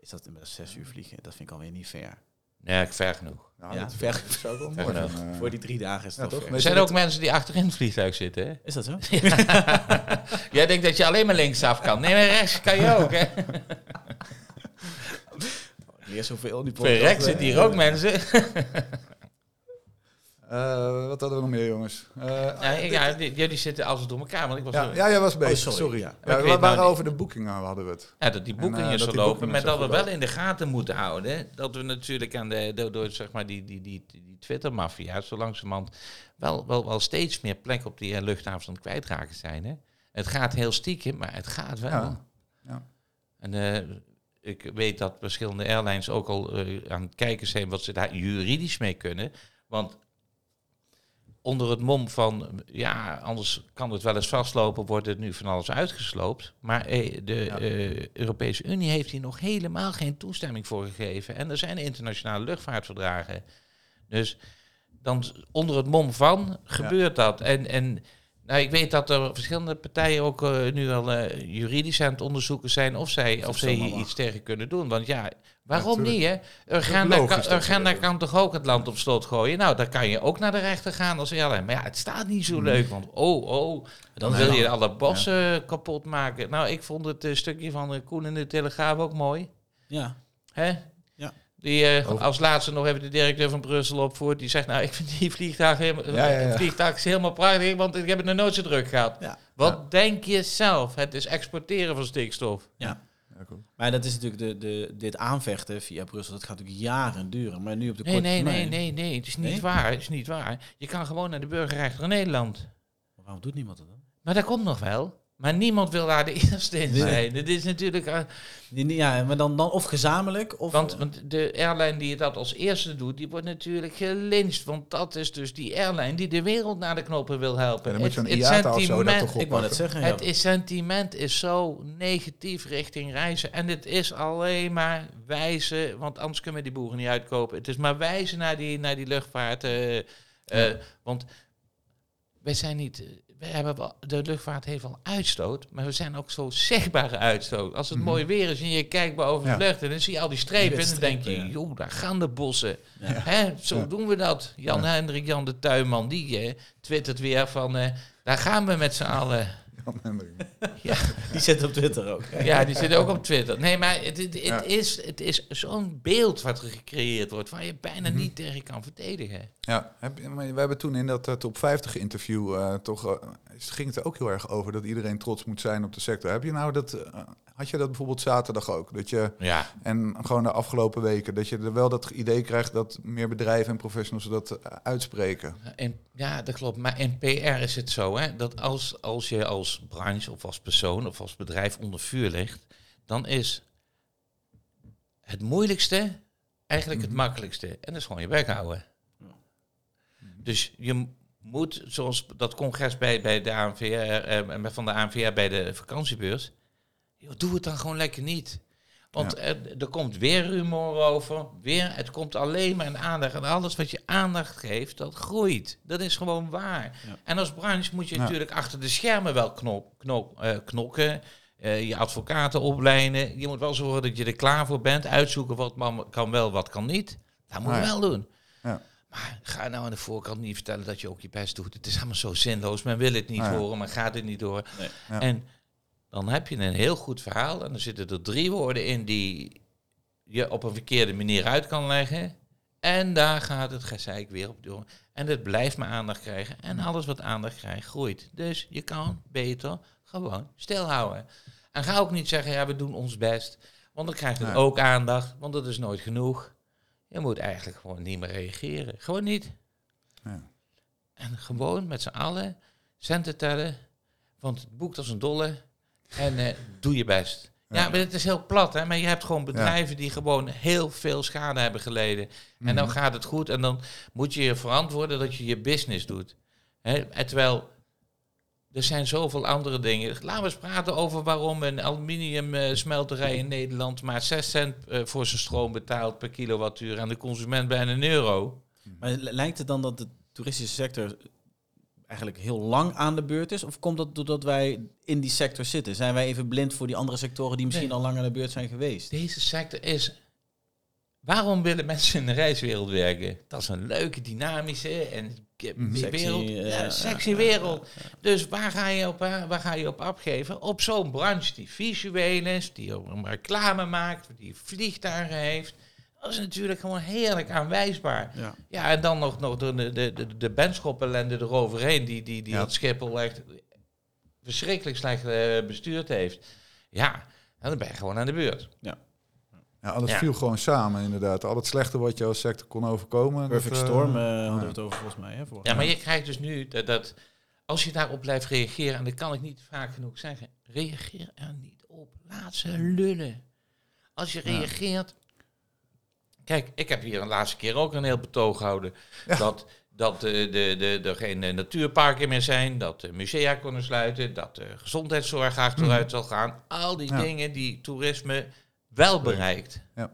S3: Is dat met zes uur vliegen? Dat vind ik alweer niet fair.
S2: Nee, ver genoeg.
S1: Nou,
S3: Ja,
S1: dat
S3: ver.
S1: zou wel
S2: Ver
S1: mooi
S2: genoeg.
S1: zijn, eh.
S3: Voor die drie dagen is het
S1: Ja,
S3: wel
S1: toch?
S3: ver.
S2: Er
S1: Weet
S2: zijn
S1: je
S2: ook mensen die achterin het vliegtuig zitten, hè?
S3: Is dat zo?
S2: Jij denkt dat je alleen maar linksaf kan. Nee, maar rechts kan je ook, hè?
S3: Leer zoveel in die
S2: Verrek zitten hier ook mensen.
S1: Eh, wat hadden we nog meer, jongens? Eh,
S2: Ja, ik- ja, die- jullie zitten alles door elkaar, want ik was...
S1: ja,
S2: Ja,
S1: ja, jij was bezig,
S3: Oh, sorry,
S1: sorry.
S3: ja.
S1: Ja,
S2: Ik weet
S1: we
S2: nou
S1: waren
S2: niet.
S1: over de boekingen hadden we het.
S2: dat die
S1: En, eh,
S2: boekingen
S1: dat
S2: zo
S1: die
S2: lopen,
S1: boekingen
S2: maar
S1: zo
S2: dat we
S1: goed
S2: wel
S1: lopen.
S2: in de gaten moeten houden... dat we natuurlijk aan de, door, door, zeg maar, die, die, die, die Twitter-maffia zo langzamerhand... Wel, wel, wel steeds meer plek op die eh, luchthavens aan het kwijtraken zijn, hè? Het gaat heel stiekem, maar het gaat wel.
S1: Ja. Ja.
S2: En eh, ik weet dat verschillende airlines ook al eh, aan het kijken zijn wat ze daar juridisch mee kunnen. Want onder het mom van, ja, anders kan het wel eens vastlopen, wordt het nu van alles uitgesloopt. Maar eh, de
S1: Ja.
S2: eh, Europese Unie heeft hier nog helemaal geen toestemming voor gegeven. En er zijn internationale luchtvaartverdragen. Dus dan s- onder het mom van gebeurt dat. En, en nou, ik weet dat er verschillende partijen ook eh, nu al eh, juridisch aan het onderzoeken zijn of zij, of zij
S3: zomaar
S2: hier
S3: mag.
S2: iets tegen kunnen doen. Want ja, waarom
S1: tuurlijk.
S2: niet? Hè? Urgenda,
S1: logisch
S2: kan,
S1: dat ze dat
S2: Urgenda
S1: doen.
S2: kan toch ook het land op slot gooien? Nou, dan kan je ook naar de rechter gaan als airline. Maar ja, het staat niet
S1: Mm.
S2: zo leuk, want oh, oh, dan
S3: Nee,
S2: wil je
S3: dan-
S2: alle bossen kapot maken. Nou, ik vond het eh, stukje van eh, Koen in de Telegraaf ook mooi.
S3: Ja.
S2: Hè?
S3: Ja.
S2: Die eh, als laatste nog even de directeur van Brussel opvoert. Die zegt, nou, ik vind die vliegtuig helemaal,
S1: Ja, ja, ja.
S2: het vliegtuig is helemaal prachtig, want ik heb het nog nooit zo druk gehad.
S3: Ja.
S2: Wat denk je zelf? Het is exporteren van stikstof.
S3: ja.
S1: Ja, cool.
S3: Maar dat is natuurlijk de, de, dit aanvechten via Brussel. Dat gaat natuurlijk jaren duren. Maar nu op de
S2: Nee,
S3: korte
S2: nee, nee,
S3: termijn-
S2: nee, nee. Het is niet
S3: Nee?
S2: waar. Het is niet waar. Je kan gewoon naar de burgerrechter in Nederland.
S3: Maar waarom doet niemand dat dan?
S2: Maar dat komt nog wel. Maar niemand wil daar de eerste in
S3: Nee.
S2: zijn. Dit is natuurlijk... eh,
S3: Nee, nee, Ja, maar dan, dan of gezamenlijk of...
S2: Want, want de airline die dat als eerste doet, die wordt natuurlijk gelinst. Want dat is dus die airline die de wereld naar de knoppen wil helpen.
S1: En dan moet je
S2: Het-
S1: een
S2: het
S1: IATA of zo dat
S2: sentiment-
S1: toch
S3: eh, ik wou net
S1: oppakken.
S3: zeggen,
S2: Het
S3: ja.
S2: is sentiment is zo negatief richting reizen. En het is alleen maar wijzen, want anders kunnen we die boeren niet uitkopen. Het is maar wijzen naar die, naar die luchtvaart. eh, eh, Want wij zijn niet... eh, We hebben wel, de luchtvaart heeft wel uitstoot, maar we zijn ook zo zichtbare uitstoot. Als het mooi weer is en je kijkt boven
S1: Ja.
S2: de lucht en dan zie je al die strepen en dan denk
S3: Strepen,
S2: je,
S3: ja.
S2: joh, daar gaan de bossen.
S3: Ja.
S2: Hè, zo
S1: Ja.
S2: doen we dat. Jan Hendrik, Jan de Tuinman, die eh, twittert weer van, eh, daar gaan we met z'n allen.
S1: Jan Hendrik.
S3: Die zit op Twitter ook.
S2: Ja, die zit ook op Twitter. Nee, maar het, het, het
S1: Ja.
S2: is, het is zo'n beeld wat er gecreëerd wordt, waar je bijna niet tegen kan verdedigen.
S1: Ja, heb, je- maar we hebben toen in dat eh, top 50 interview eh, toch eh, is- ging het er ook heel erg over dat iedereen trots moet zijn op de sector. Heb je nou dat, eh, had je dat bijvoorbeeld zaterdag ook? Dat je,
S2: Ja.
S1: en gewoon de afgelopen weken, dat je er wel dat idee krijgt dat meer bedrijven en professionals dat eh, uitspreken.
S2: En, ja, dat klopt. Maar in PR is het zo, hè, dat als, als je als branche of als persoon of als bedrijf onder vuur ligt, dan is het moeilijkste eigenlijk het makkelijkste. En dat is gewoon je bek houden. Dus je m- moet, zoals dat congres bij, bij de ANVR, eh, met- van de ANVR bij de vakantiebeurs, joh, doe het dan gewoon lekker niet. Want er, er komt weer rumor over, weer, het komt alleen maar in aandacht. En alles wat je aandacht geeft, dat groeit. Dat is gewoon waar.
S3: Ja.
S2: En als branche moet je
S1: Ja.
S2: natuurlijk achter de schermen wel knop, knop, eh, knokken. eh, je advocaten opleiden. Je moet wel zorgen dat je er klaar voor bent. Uitzoeken wat man- kan wel, wat kan niet. Dat moet je
S1: Nou ja.
S2: wel doen.
S1: Ja.
S2: Maar ga nou aan de voorkant niet vertellen dat je ook je best doet. Het is allemaal zo zinloos. Men wil het niet
S1: Nou ja.
S2: horen, men gaat het niet horen.
S3: Nee.
S1: Ja.
S2: En dan heb je een heel goed verhaal. En dan zitten er drie woorden in die je op een verkeerde manier uit kan leggen. En daar gaat het gezeik weer op door. En het blijft maar aandacht krijgen. En alles wat aandacht krijgt, groeit. Dus je kan beter gewoon stilhouden. En ga ook niet zeggen, ja, we doen ons best. Want dan krijgt het
S1: Nee.
S2: ook aandacht, want dat is nooit genoeg. Je moet eigenlijk gewoon niet meer reageren. Gewoon niet.
S1: Ja.
S2: En gewoon met z'n allen centen tellen, want het boekt als een dolle en eh, doe je best. Ja, maar het is heel plat, hè? maar je hebt gewoon bedrijven die gewoon heel veel schade hebben geleden. En
S1: Mhm.
S2: dan gaat het goed en dan moet je je verantwoorden dat je je business doet. Hè? En terwijl er zijn zoveel andere dingen. Laten we eens praten over waarom een aluminiumsmelterij in Nederland maar 6 cent eh, voor zijn stroom betaalt per kilowattuur en de consument bijna een euro.
S3: Maar l- lijkt het dan dat de toeristische sector eigenlijk heel lang aan de beurt is? Of komt dat doordat wij in die sector zitten? Zijn wij even blind voor die andere sectoren die misschien
S2: Nee.
S3: al lang aan de beurt zijn geweest?
S2: Deze sector is. Waarom willen mensen in de reiswereld werken? Dat is een leuke, dynamische en k-
S3: Sexy,
S2: wereld.
S3: eh,
S2: ja, sexy wereld. Dus waar ga je op, eh, waar ga je op afgeven? Op zo'n branche die visueel is, die ook een reclame maakt, die vliegtuigen heeft. Dat is natuurlijk gewoon heerlijk aanwijsbaar.
S3: Ja.
S2: Ja, en dan nog, nog de, de, de, de benschop eroverheen, die, die, die
S1: Ja.
S2: het Schiphol echt verschrikkelijk slecht eh, bestuurd heeft. Ja, en dan ben je gewoon aan de beurt.
S1: Ja, alles
S2: Ja.
S1: viel gewoon samen inderdaad. Al het slechte wat je als sector kon overkomen.
S3: Perfect
S1: dat, eh,
S3: Storm eh, hadden we het over volgens mij. Hè, vorig
S2: Ja, maar
S3: jaar.
S2: je krijgt dus nu dat, dat als je daarop blijft reageren, en dat kan ik niet vaak genoeg zeggen, reageer er niet op. Laat ze lullen. Als je reageert. Kijk, ik heb hier een laatste keer ook een heel betoog gehouden. Dat, dat eh, de, de, er geen eh, natuurparken meer zijn, dat de musea kunnen sluiten, dat de gezondheidszorg achteruit zal gaan. Al die
S1: Ja.
S2: dingen die toerisme wel bereikt.
S1: Ja.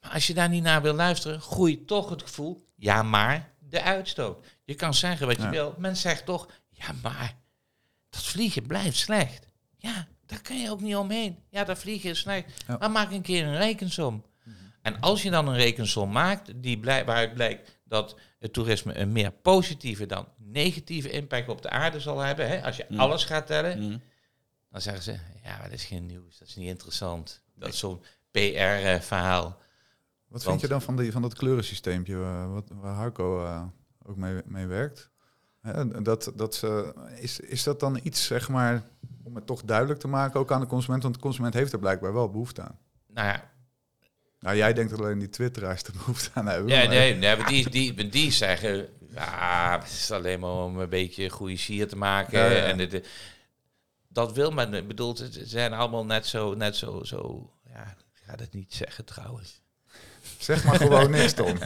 S2: Maar als je daar niet naar wil luisteren, groeit toch het gevoel, ja maar, de uitstoot. Je kan zeggen wat je
S1: Ja.
S2: wil, men zegt toch, ja maar, dat vliegen blijft slecht. Ja, daar kan je ook niet omheen. Ja, dat vliegen is slecht.
S1: Ja. Mhm.
S2: Maar maak een keer een rekensom. En als je dan een rekensom maakt, die blij- waaruit blijkt dat het toerisme een meer positieve dan negatieve impact op de aarde zal hebben, hè, als je
S1: Mhm.
S2: alles gaat tellen,
S3: Mm.
S2: dan zeggen ze, ja, maar dat is geen nieuws, dat is niet interessant. Dat is zo'n eh, PR-verhaal.
S1: Wat
S2: Want-
S1: vind je dan van, die, van dat kleurensysteempje eh, wat, waar Harco eh, ook mee, mee werkt? Hè, dat, dat ze, is, is dat dan iets, zeg maar, om het toch duidelijk te maken ook aan de consument? Want de consument heeft er blijkbaar wel behoefte aan.
S2: Nou ja,
S1: Nou, jij denkt dat alleen die twitteraars er behoefte aan hebben.
S2: Ja,
S1: maar-
S2: nee, nee maar die, die, maar die zeggen, ja, het is alleen maar om een beetje goede sier te maken.
S1: Ja, ja, ja.
S2: En dit, eh, dat wil men, ik bedoel, ze ze zijn allemaal net zo, net zo, zo, ja, ik ga dat niet zeggen trouwens.
S1: Zeg maar gewoon niks, Tom.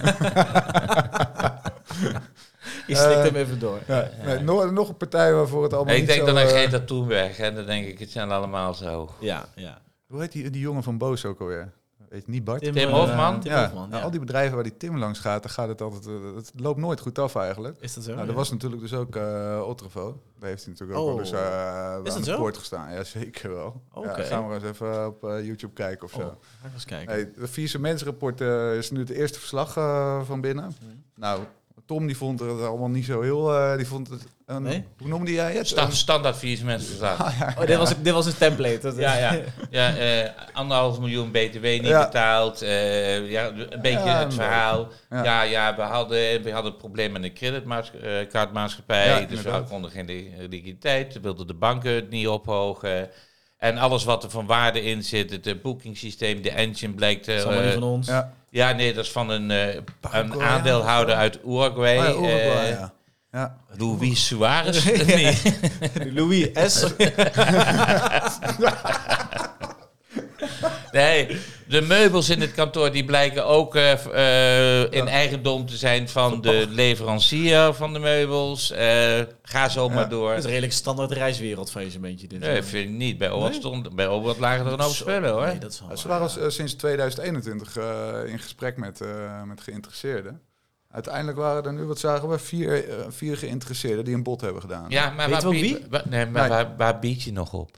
S3: Je slikt
S1: Eh,
S3: hem even door.
S1: Ja, nee, nog, nog een partij waarvoor het allemaal
S2: ik
S1: niet
S2: denk
S1: zo,
S2: dan aan
S1: eh,
S2: Greta Thunberg en dan denk ik, het zijn allemaal zo.
S3: Ja, ja.
S1: Hoe heet die, die jongen van Boos ook alweer? Weet je, niet Bart?
S2: Tim
S3: eh,
S2: Hofman?
S3: Tim
S1: ja,
S3: Hofman,
S1: nou,
S3: ja.
S1: al die bedrijven waar die Tim langs gaat, dan gaat het altijd... eh, Het loopt nooit goed af eigenlijk.
S3: Is dat zo?
S1: Nou,
S3: Ja.
S1: dat was natuurlijk dus ook eh Otrevo. Daar heeft hij natuurlijk
S3: Oh.
S1: ook wel eens eh,
S3: Is
S1: aan
S3: dat
S1: de
S3: zo?
S1: poort gestaan. Ja, zeker wel.
S3: Oké.
S1: Ja, gaan we eens even op eh, YouTube kijken of
S3: Oh,
S1: zo.
S3: ga ik eens kijken.
S1: Hey, het Vieze Mensenrapport eh, is nu het eerste verslag eh, van binnen. Nou, Tom die vond het allemaal niet zo heel... eh, die vond het een,
S3: Nee?
S1: Hoe noemde jij het?
S2: Sta- standaard vier mensen verslagen.
S3: Oh, dit, was, dit was een template. Dat is-
S2: Ja, ja. ja eh, anderhalf miljoen BTW niet
S1: Ja.
S2: betaald. eh, ja, een beetje
S1: Ja,
S2: het verhaal.
S1: Ja.
S2: Ja, ja, we, hadden, we hadden het probleem met de creditcardmaatschappij.
S1: Ja,
S2: dus we
S1: inderdaad.
S2: konden geen li- liquiditeit. We wilden de banken het niet ophogen. En alles wat er van waarde in zit, het eh, boekingssysteem, de engine blijkt... eh,
S3: Dat is allemaal niet van ons.
S1: Ja.
S2: ja, nee, dat is van een, eh, een
S1: Paraguay,
S2: aandeelhouder uit Uruguay.
S1: Oh ja, Uruguay,
S2: eh,
S1: ja. Ja.
S2: Luis Suarez. nee.
S3: Louis S.
S2: Nee, de meubels in het kantoor die blijken ook eh, v- eh, in eigendom te zijn van de leverancier van de meubels. Eh, ga zo maar door.
S3: Dat is redelijk standaard reiswereld van je zo'n beetje. Dit eh.
S2: Nee, vind ik niet. Bij Obert, stond, bij Obert lagen er een hoop
S3: Zo,
S2: spullen hoor.
S3: Nee, dat is wel
S1: Ja, Ze
S3: waar.
S1: waren eh, sinds 2021 eh, in gesprek met, eh, met geïnteresseerden. Uiteindelijk waren er nu, wat zagen we, vier, eh, vier geïnteresseerden die een bod hebben gedaan.
S2: ja, maar,
S3: Weet
S2: waar,
S3: je wel
S2: bied-
S3: wie?
S2: wa- nee, maar
S1: Nee.
S2: waar, waar bied je nog op?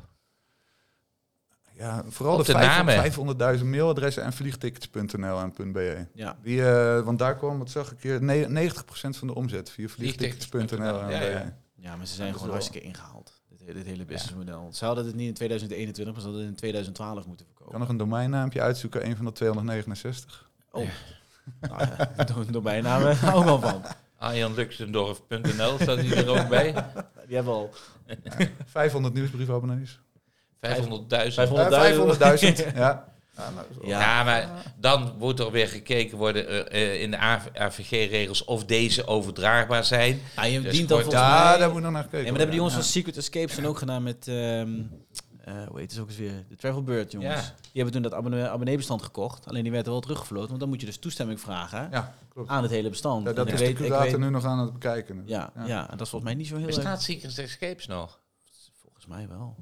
S1: Ja, vooral
S2: Op
S1: de,
S2: de namen.
S1: 500 500.000 mailadressen en vliegtickets.nl en .be.
S3: Ja.
S1: Die, eh, want daar kwam, wat zag ik hier, ne- 90% van de omzet via vliegtickets.nl en E.
S2: Ja, ja.
S1: .be.
S3: ja, maar ze zijn
S1: is
S3: gewoon
S1: wel-
S3: hartstikke ingehaald. Dit, he- dit hele businessmodel. Ze hadden het niet in 2021, maar ze hadden het in 2012 moeten
S1: Ik kan
S3: verkopen.
S1: nog een domeinnaampje uitzoeken, een van de 269.
S3: Oh. Nou ja, door, door bijnamen hou ik al van.
S2: Arjanluxendorf.nl staat hier er ook bij.
S3: Die hebben al
S1: 500 nieuwsbriefabonnees.
S2: 500.000.
S3: 500.
S1: Eh, 500.000, ja. Ja, nou, zo.
S3: Ja.
S2: Ja, maar dan moet er weer gekeken worden eh, eh, in de AVG-regels of deze overdraagbaar zijn.
S3: Ah, je
S2: Dus
S3: dient dan
S2: kort-
S3: volgens
S1: Ja,
S3: mij...
S1: daar moet nog naar gekeken
S3: Ja, maar dat hebben die jongens
S1: worden.
S3: van Secret Escapes dan ook gedaan met... ehm eh hoe heet het ook eens weer? De Travel Bird, jongens.
S2: Ja.
S3: Die hebben toen dat abonne- abonneebestand gekocht. Alleen die werd er wel teruggefloten. Want dan moet je dus toestemming vragen
S1: Ja, klopt.
S3: aan het hele bestand.
S1: Ja,
S3: En
S1: dat
S3: Ah, ik
S1: is
S3: weet-
S1: de
S3: ik
S1: curator
S3: weet-
S1: nu nog aan het bekijken.
S3: Ja, ja. en dat is volgens mij niet zo heel erg.
S2: Bestaat Secret Escapes nog?
S3: Volgens mij wel.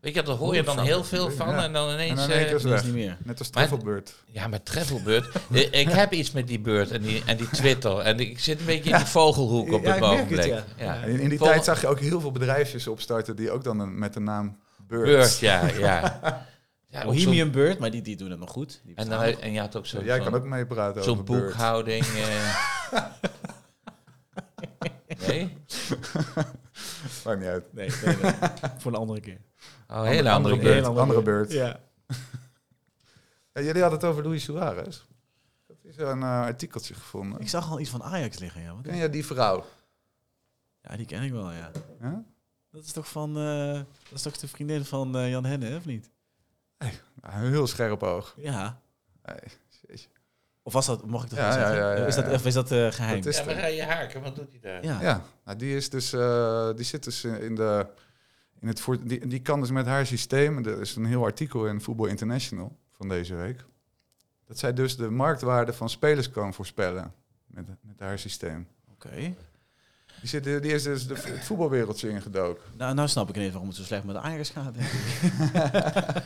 S2: Weet je, daar hoor je dan heel veel van
S1: Ja.
S2: en dan
S1: En
S2: ineens...
S1: dan in één
S2: eh,
S1: keer is
S3: Dat is
S1: het
S3: niet
S1: weg.
S3: meer.
S1: Net als
S2: Maar-
S1: Travelbird.
S2: ja, maar Travelbird. eh, ik heb iets met die bird en die, en die Twitter. En ik zit een beetje in die vogelhoek op
S3: Ja,
S2: het
S3: ik merk het,
S2: ogenblik.
S3: ja.
S2: Ja.
S1: In, in die
S2: Vol-
S1: tijd zag je ook heel veel bedrijfjes opstarten die ook dan een- met de naam Bird.
S2: Bird, ja, ja. ja ook zo'n-
S3: Bohemian Bird, maar die, die doen het nog goed. Die
S2: en,
S3: bestaan
S2: dan,
S3: nog.
S2: en je had ook zo'n
S1: Jij
S2: zo'n-
S1: kan ook meepraten
S2: zo'n
S1: over Bird.
S2: boekhouding. eh. nee? Oh,
S1: Maakt niet uit.
S3: Nee, nee, nee. voor een andere keer.
S2: Oh, een hele andere
S3: Bird.
S2: bird.
S1: Bird. Andere Bird. Ja, jullie hadden het over Luis Suarez. Dat is een eh, artikeltje gevonden.
S3: Ik zag al iets van Ajax liggen, ja. Wat-
S1: Ken jij die vrouw?
S3: Ja, die ken ik wel, ja.
S1: Ja?
S3: Dat is toch van... eh, dat is toch de vriendin van eh, Jan Henne, hè, of niet?
S1: Een heel scherp oog.
S3: Ja.
S1: Hey, jeetje.
S3: Of was dat... Mocht ik dat
S1: Ja,
S3: wel
S1: ja,
S3: zeggen?
S1: ja, ja,
S3: Is dat,
S1: ja.
S3: of is dat eh, geheim?
S1: Dat is
S2: Ja,
S1: hem.
S2: maar ga je haken, wat doet hij daar?
S3: ja.
S1: Ja, nou, die, is dus, eh, die zit dus in de. In het voort, die, die kan dus met haar systeem. Er is een heel artikel in Voetbal International van deze week. Dat zij dus de marktwaarde van spelers kan voorspellen. Met, met haar systeem.
S3: Oké.
S1: Die, zit, die is dus de, het voetbalwereldje ingedoken.
S3: Nou, nou snap ik ineens waarom het zo slecht met Ajax gaat. denk ik.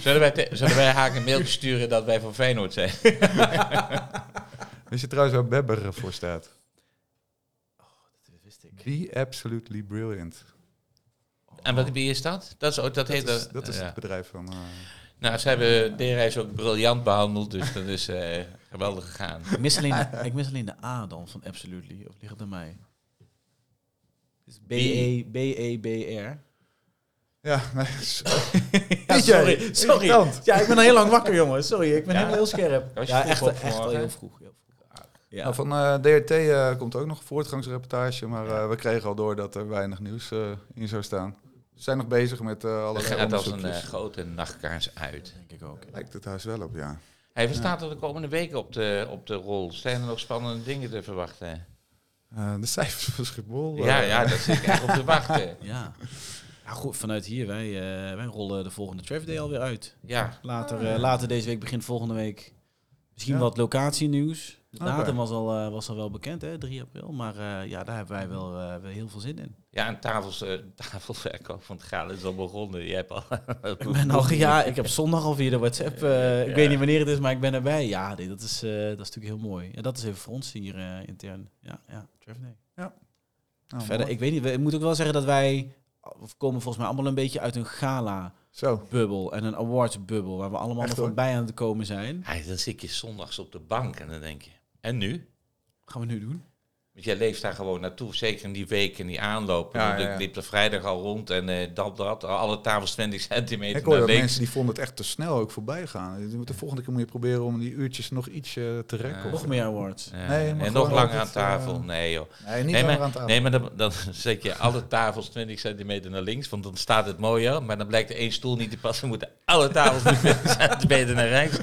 S2: Zullen wij, te- zullen wij Haak een mailtje sturen dat wij van Feyenoord zijn?
S1: Weet je trouwens waar Bebber eh, voor staat?
S3: Oh, dat wist ik.
S1: Be absolutely brilliant.
S2: En wat, wie is dat? Dat, is, ook- dat, heet
S1: Dat is,
S2: eh,
S1: dat is
S2: ja.
S1: het bedrijf van. eh,
S2: Nou, ze hebben D-reis ook briljant behandeld, dus dat is eh, geweldig gegaan.
S3: Ik mis, alleen de, ik mis alleen de A dan van Absolutely. Of ligt het bij mij?
S1: E
S3: B-E- B-E-B-R.
S1: ja, nee, s-
S3: Ja,
S1: Weet jij?
S3: sorry, sorry.
S1: Irritant.
S3: Ja, ik ben al heel lang wakker, jongen. Sorry, ik ben
S2: Ja.
S3: helemaal heel scherp.
S2: Was je
S3: ja,
S2: vroeg
S3: echt,
S2: op
S3: echt wel
S2: vanmorgen?
S3: heel vroeg. Heel vroeg. Ja.
S1: Nou, van eh, DRT eh, komt ook nog een voortgangsreportage, maar eh, we kregen al door dat er weinig nieuws eh, in zou staan. Ze zijn nog bezig met eh
S2: Het
S1: allerlei
S2: gaat als een eh,
S1: onderzoekjes.
S2: grote nachtkaars uit.
S3: denk ik ook.
S1: Lijkt het huis wel op, ja.
S2: Hij verstaat er de komende weken op de, op de rol. Zijn er nog spannende dingen te verwachten?
S1: Eh, de cijfers van Schiphol. eh,
S2: Ja, ja, daar zit ik echt op te wachten.
S3: Ja. ja goed, vanuit hier, wij, eh, wij rollen de volgende Travel Day alweer uit.
S2: Ja,
S3: Later, eh, later deze week begint volgende week misschien
S1: Ja.
S3: wat locatienieuws. De
S1: Oké.
S3: datum was, al, eh, was al wel bekend, hè, 3 april. Maar eh, ja, daar hebben wij wel eh, wel heel veel zin in.
S2: ja en tafels, eh, tafelverkoop van het Gaal is al begonnen. Je hebt al...
S3: Ik ben al, ja, ik heb zondag al via de WhatsApp. eh, ik
S2: Ja.
S3: weet niet wanneer het is, maar ik ben erbij. Ja, dit, dat, is, eh, dat is natuurlijk heel mooi. Ja, dat is even voor ons hier eh, intern. Ja, ja, Trevor Day.
S1: nou,
S3: Verder,
S1: mooi.
S3: ik weet niet. we- Ik moet ook wel zeggen dat wij we komen volgens mij allemaal een beetje uit een gala-bubbel
S1: Zo,
S3: en een awards-bubbel, waar we allemaal
S1: Echt
S3: nog
S1: hoor.
S3: voorbij aan het komen zijn.
S2: Hij, dan zit je zondags op de bank en dan denk je, en nu?
S3: Gaan we nu doen?
S2: Want jij leeft daar gewoon naartoe, zeker in die week en die aanloop.
S1: Ja,
S2: Ik bedoel,
S1: ja, ja.
S2: Ik liep er vrijdag al rond en eh, dat, dat, alle tafels 20
S1: ik
S2: centimeter
S1: hoor
S2: naar
S1: dat
S2: links.
S1: mensen die vonden het echt te snel ook voorbij gaan. Je moet De volgende keer moet je proberen om die uurtjes nog ietsje te rekken.
S2: Ja.
S1: of-
S3: Nog meer awards.
S2: Ja,
S1: Nee, maar
S2: en nog
S1: gewoon
S2: langer aan
S1: altijd,
S2: tafel.
S1: eh,
S2: nee joh.
S1: Nee, niet
S2: nee,
S1: langer
S2: maar,
S1: aan tafel.
S2: nee, maar dan, dan zet je alle tafels 20 centimeter naar links, want dan staat het mooier. Maar dan blijkt er één stoel niet te passen, moeten alle tafels 20 centimeter naar rechts.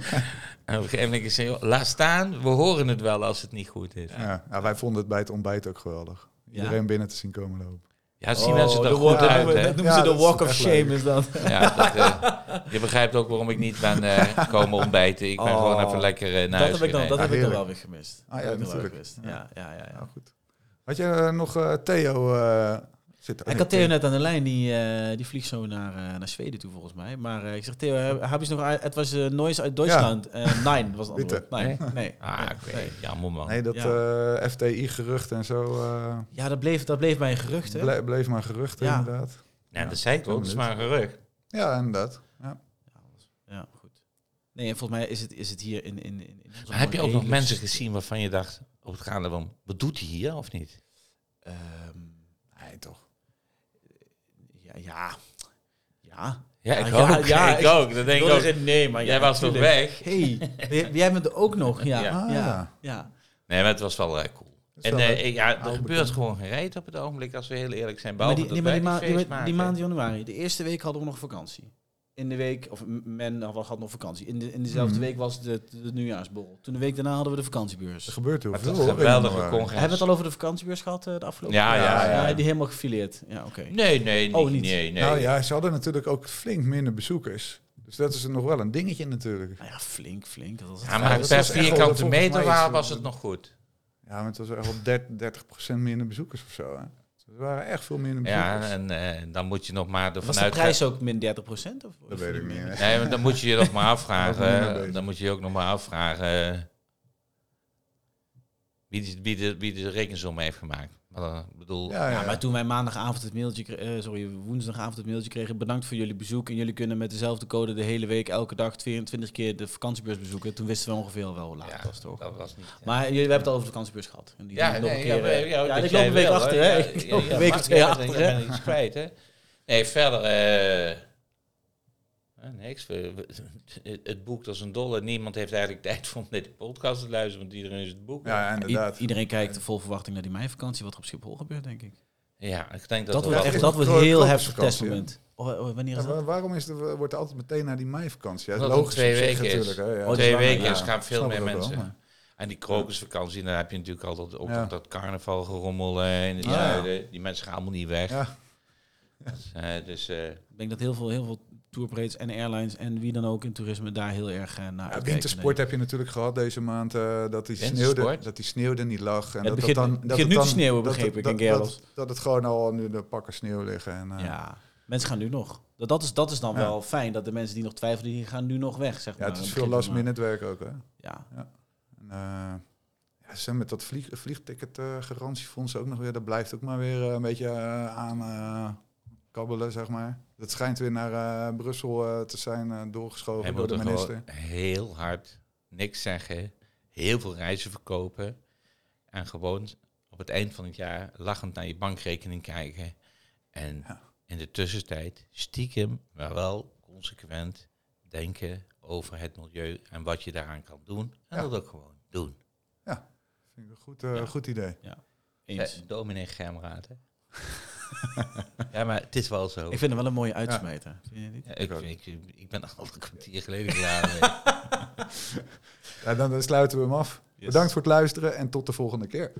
S2: En op een gegeven moment is het, joh, laat staan, we horen het wel als het niet goed is. Ja,
S1: Ja, nou, wij vonden het bij het ontbijt ook geweldig.
S3: Ja?
S1: Iedereen binnen te zien komen lopen.
S2: zien mensen Oh, er
S3: Oh, de
S2: goed
S3: walk-
S2: uit.
S3: dat
S2: hè?
S3: noemen
S1: Ja,
S3: ze de
S1: dat is
S3: walk of
S1: echt
S3: shame
S1: leuk.
S3: is dat.
S2: Ja, dat, eh, je begrijpt ook waarom ik niet ben eh, komen ontbijten. Ik ben
S3: Oh,
S2: gewoon even lekker eh, naar
S3: dat
S2: huis
S3: heb ik dan, dat
S2: gereden.
S3: heb ik dan
S1: heerlijk.
S3: wel weer gemist.
S1: Ah, ja,
S3: Dat heb ik dan wel
S1: natuurlijk.
S3: weer gemist. Ja, ja, ja, ja.
S1: Nou, goed. Had je eh, nog eh, Theo... eh zit
S3: Ik had Theo net aan de lijn, die, eh, die vliegt zo naar, eh, naar Zweden toe volgens mij. Maar eh, ik zeg, Theo, heb je nog... uit- Het was eh Noise uit Duitsland. Eh, nein was het
S1: Bitte.
S3: antwoord. Nee, nee.
S2: Ah,
S3: nee,
S2: oké.
S3: nee.
S2: Jammer man.
S1: Nee, dat eh, FTI-gerucht en zo... eh,
S3: Ja, dat bleef, dat bleef bij een gerucht, hè?
S1: Ble- bleef maar geruchten,
S3: Ja.
S1: inderdaad.
S2: Nou, dat zei ik ook, het is maar een gerucht.
S1: Ja, inderdaad. Ja.
S3: Ja, goed. Nee, en volgens mij is het, is het hier in... in, in, in onze
S2: Maar heb je ook nog
S3: redelijk-
S2: mensen gezien waarvan je dacht op het gaande van, wat doet hij hier of niet?
S3: Ehm,
S1: Nee, toch.
S3: ja, ja. Ja.
S2: Ja, ik
S3: ik
S2: ook.
S3: ook,
S2: Ja,
S3: Ah, ja,
S2: ik
S3: ik-
S2: ook. Dat denk ik
S3: wilde
S2: ook.
S3: zeggen, nee, maar
S2: Jij was toch
S3: natuurlijk.
S2: weg?
S3: hey, j- jij bent er ook nog, ja.
S2: Ja.
S3: Ja,
S1: Ah, ja.
S3: ja.
S2: Nee, maar het was wel eh, cool.
S1: Dat is
S2: En
S1: wel
S2: eh,
S1: leuk.
S2: ja, er
S1: Oude
S2: gebeurt
S1: bekende.
S2: gewoon gereed op het ogenblik, als we heel eerlijk zijn.
S3: Maar
S2: Behalve
S3: die,
S2: dat
S3: nee,
S2: wij
S3: maar die, ma-
S2: die
S3: die,
S2: feest
S3: ma- die
S2: maken.
S3: maand januari, de eerste week hadden we nog vakantie. in de week, of m- men had- had nog vakantie. In, de, in dezelfde
S1: Mhm.
S3: week was de, de nieuwjaarsborrel. Toen de week daarna hadden we de
S1: Er
S3: vakantiebeurs.
S1: gebeurt heel
S2: Wat
S1: veel.
S2: een
S1: hoor, in eh,
S2: geweldige
S1: januari.
S2: congres.
S3: Hebben we het al over de vakantiebeurs gehad eh, de afgelopen
S2: Ja,
S3: jaar?
S2: ja, ja.
S3: Die helemaal gefileerd. Ja, oké.
S2: Nee, nee,
S3: Oh,
S2: niet.
S3: niet.
S2: nee, nee.
S1: Nou ja, ze hadden natuurlijk ook flink minder bezoekers. Dus dat is nog wel een dingetje natuurlijk.
S3: Nou ja, flink, flink. Dat was het.
S2: Ja,
S1: Ja,
S2: maar
S1: dat
S2: per
S1: was echt wel-
S2: vierkante
S1: volgens mij
S2: meter
S1: is
S2: waar
S3: eh,
S1: het-
S2: was het nog goed.
S1: Ja, maar het was echt wel 30, 30% minder bezoekers of zo. Hè. Dus Er waren echt veel minder bezoekers.
S2: Ja, en eh, dan moet je nog maar ervan
S3: Was de
S2: uitgaan.
S3: prijs ook min 30 procent?
S1: dat weet ik niet. hè.
S2: Nee, want dan moet je je nog maar afvragen.
S1: Daar ben ik mee
S2: eh,
S1: bezig.
S2: dan moet je je ook nog maar afvragen. eh, Wie de, wie, de, wie de rekensom heeft gemaakt. Maar dan, ik bedoel,
S1: Ja, ja.
S3: Ja, maar toen wij maandagavond het mailtje, kre- eh, sorry, woensdagavond het mailtje kregen, bedankt voor jullie bezoek en jullie kunnen met dezelfde code de hele week, elke dag 24 keer de vakantiebeurs bezoeken. Toen wisten we ongeveer wel hoe laat
S2: ja,
S3: het was, toch?
S2: dat was niet. eh,
S3: Maar jullie hebben het al over de vakantiebeurs gehad. En die
S2: Ja,
S3: doen we nog
S2: nee,
S3: een keer,
S2: ja,
S3: eh,
S2: ja, ja,
S3: ja,
S2: dat
S3: ik
S2: jij
S3: loop een week
S2: wil,
S3: achter,
S2: hè.
S3: hè?
S2: Ja,
S3: Ik
S2: ja,
S3: loop
S2: ja,
S3: een week
S2: mag,
S3: of twee
S2: ja, dan-
S3: achter,
S2: dan
S3: hè?
S2: ben je iets kwijt, hè? Nee, verder. eh, eh, niks. We- we- het boekt als een dolle. Niemand heeft eigenlijk tijd om naar de podcast te luisteren, want iedereen is het boek.
S1: Ja,
S3: I-
S1: inderdaad.
S3: iedereen kijkt vol verwachting naar die meivakantie, wat er op Schiphol gebeurt, denk ik.
S2: Ja, ik denk dat,
S3: Dat,
S2: dat
S3: wordt,
S1: wel
S3: echt,
S1: goed.
S3: dat wordt
S1: Kro-
S3: heel
S1: krokusvakantie,
S3: heftig
S1: hè?
S3: testmoment. Oh, oh, wanneer
S1: Ja,
S3: is dat?
S1: maar waarom is de, wordt er altijd meteen naar die meivakantie? Ja,
S2: Omdat
S1: logisch
S2: het twee
S1: op zich
S2: weken is.
S1: natuurlijk, hè, ja.
S3: Oh, dat
S2: twee
S3: waar,
S2: weken
S3: ja.
S2: is, gaan veel
S1: Snap
S2: meer
S1: ik ook wel,
S2: mensen.
S1: maar-
S2: En die krokusvakantie, dan heb je natuurlijk altijd ook
S1: Ja.
S2: dat carnaval gerommel eh, in het
S1: Ja.
S2: zuiden. Die mensen gaan allemaal niet weg.
S1: Ja.
S2: Dus, eh, dus, eh,
S3: Ik denk dat heel veel, heel veel tourbraids en airlines en wie dan ook in toerisme daar heel erg eh, naar
S1: Ja,
S3: uitkijken,
S1: wintersport heb je natuurlijk gehad deze maand. eh, dat, die sneeuwde,
S2: Wintersport?
S1: dat die sneeuwde niet lag. En
S3: Het
S1: dat
S3: begint-
S1: dan,
S3: het
S1: dat
S3: begint nu te sneeuwen,
S1: dat-
S3: begreep ik,
S1: dat,
S3: in
S1: dat,
S3: Gerlos.
S1: dat, het gewoon al nu de pakken sneeuw liggen. En, eh,
S3: denk ik. Ja, mensen gaan nu nog. Dat, dat, is, dat is dan
S1: Ja.
S3: wel fijn, dat de mensen die nog twijfelen, die gaan nu nog weg, zeg
S1: ja,
S3: maar.
S1: het is
S3: Dan
S1: veel
S3: begint
S1: last
S3: het Nou, maar.
S1: minute werk ook. Hè. En,
S3: Ja.
S1: eh, ja, ze zijn met dat vlieg, vliegticket eh, garantiefonds ook nog weer. Dat blijft ook maar weer eh, een beetje eh, aan eh, kabbelen, zeg maar. Dat schijnt weer naar eh, Brussel eh, te zijn eh, doorgeschoven
S2: hij
S1: door
S2: moet
S1: de
S2: er
S1: minister.
S2: gewoon heel hard niks zeggen, heel veel reizen verkopen. En gewoon op het eind van het jaar lachend naar je bankrekening kijken. En
S1: Ja.
S2: in de tussentijd stiekem, maar wel consequent denken over het milieu en wat je daaraan kan doen. En
S1: Ja.
S2: dat ook gewoon doen.
S1: Vind ik een goed, eh,
S3: Ja.
S1: goed idee.
S3: Eens.
S2: Eh, dominee Germraad, hè? ja, maar het is wel zo.
S3: Ik vind hem wel een mooie uitsmijter. Vind je niet?
S2: Ja, ik,
S1: ook.
S2: ik, ik ben al een kwartier geleden klaar. mee.
S1: Ja, dan, dan sluiten we hem af. Bedankt voor het luisteren en tot de volgende keer.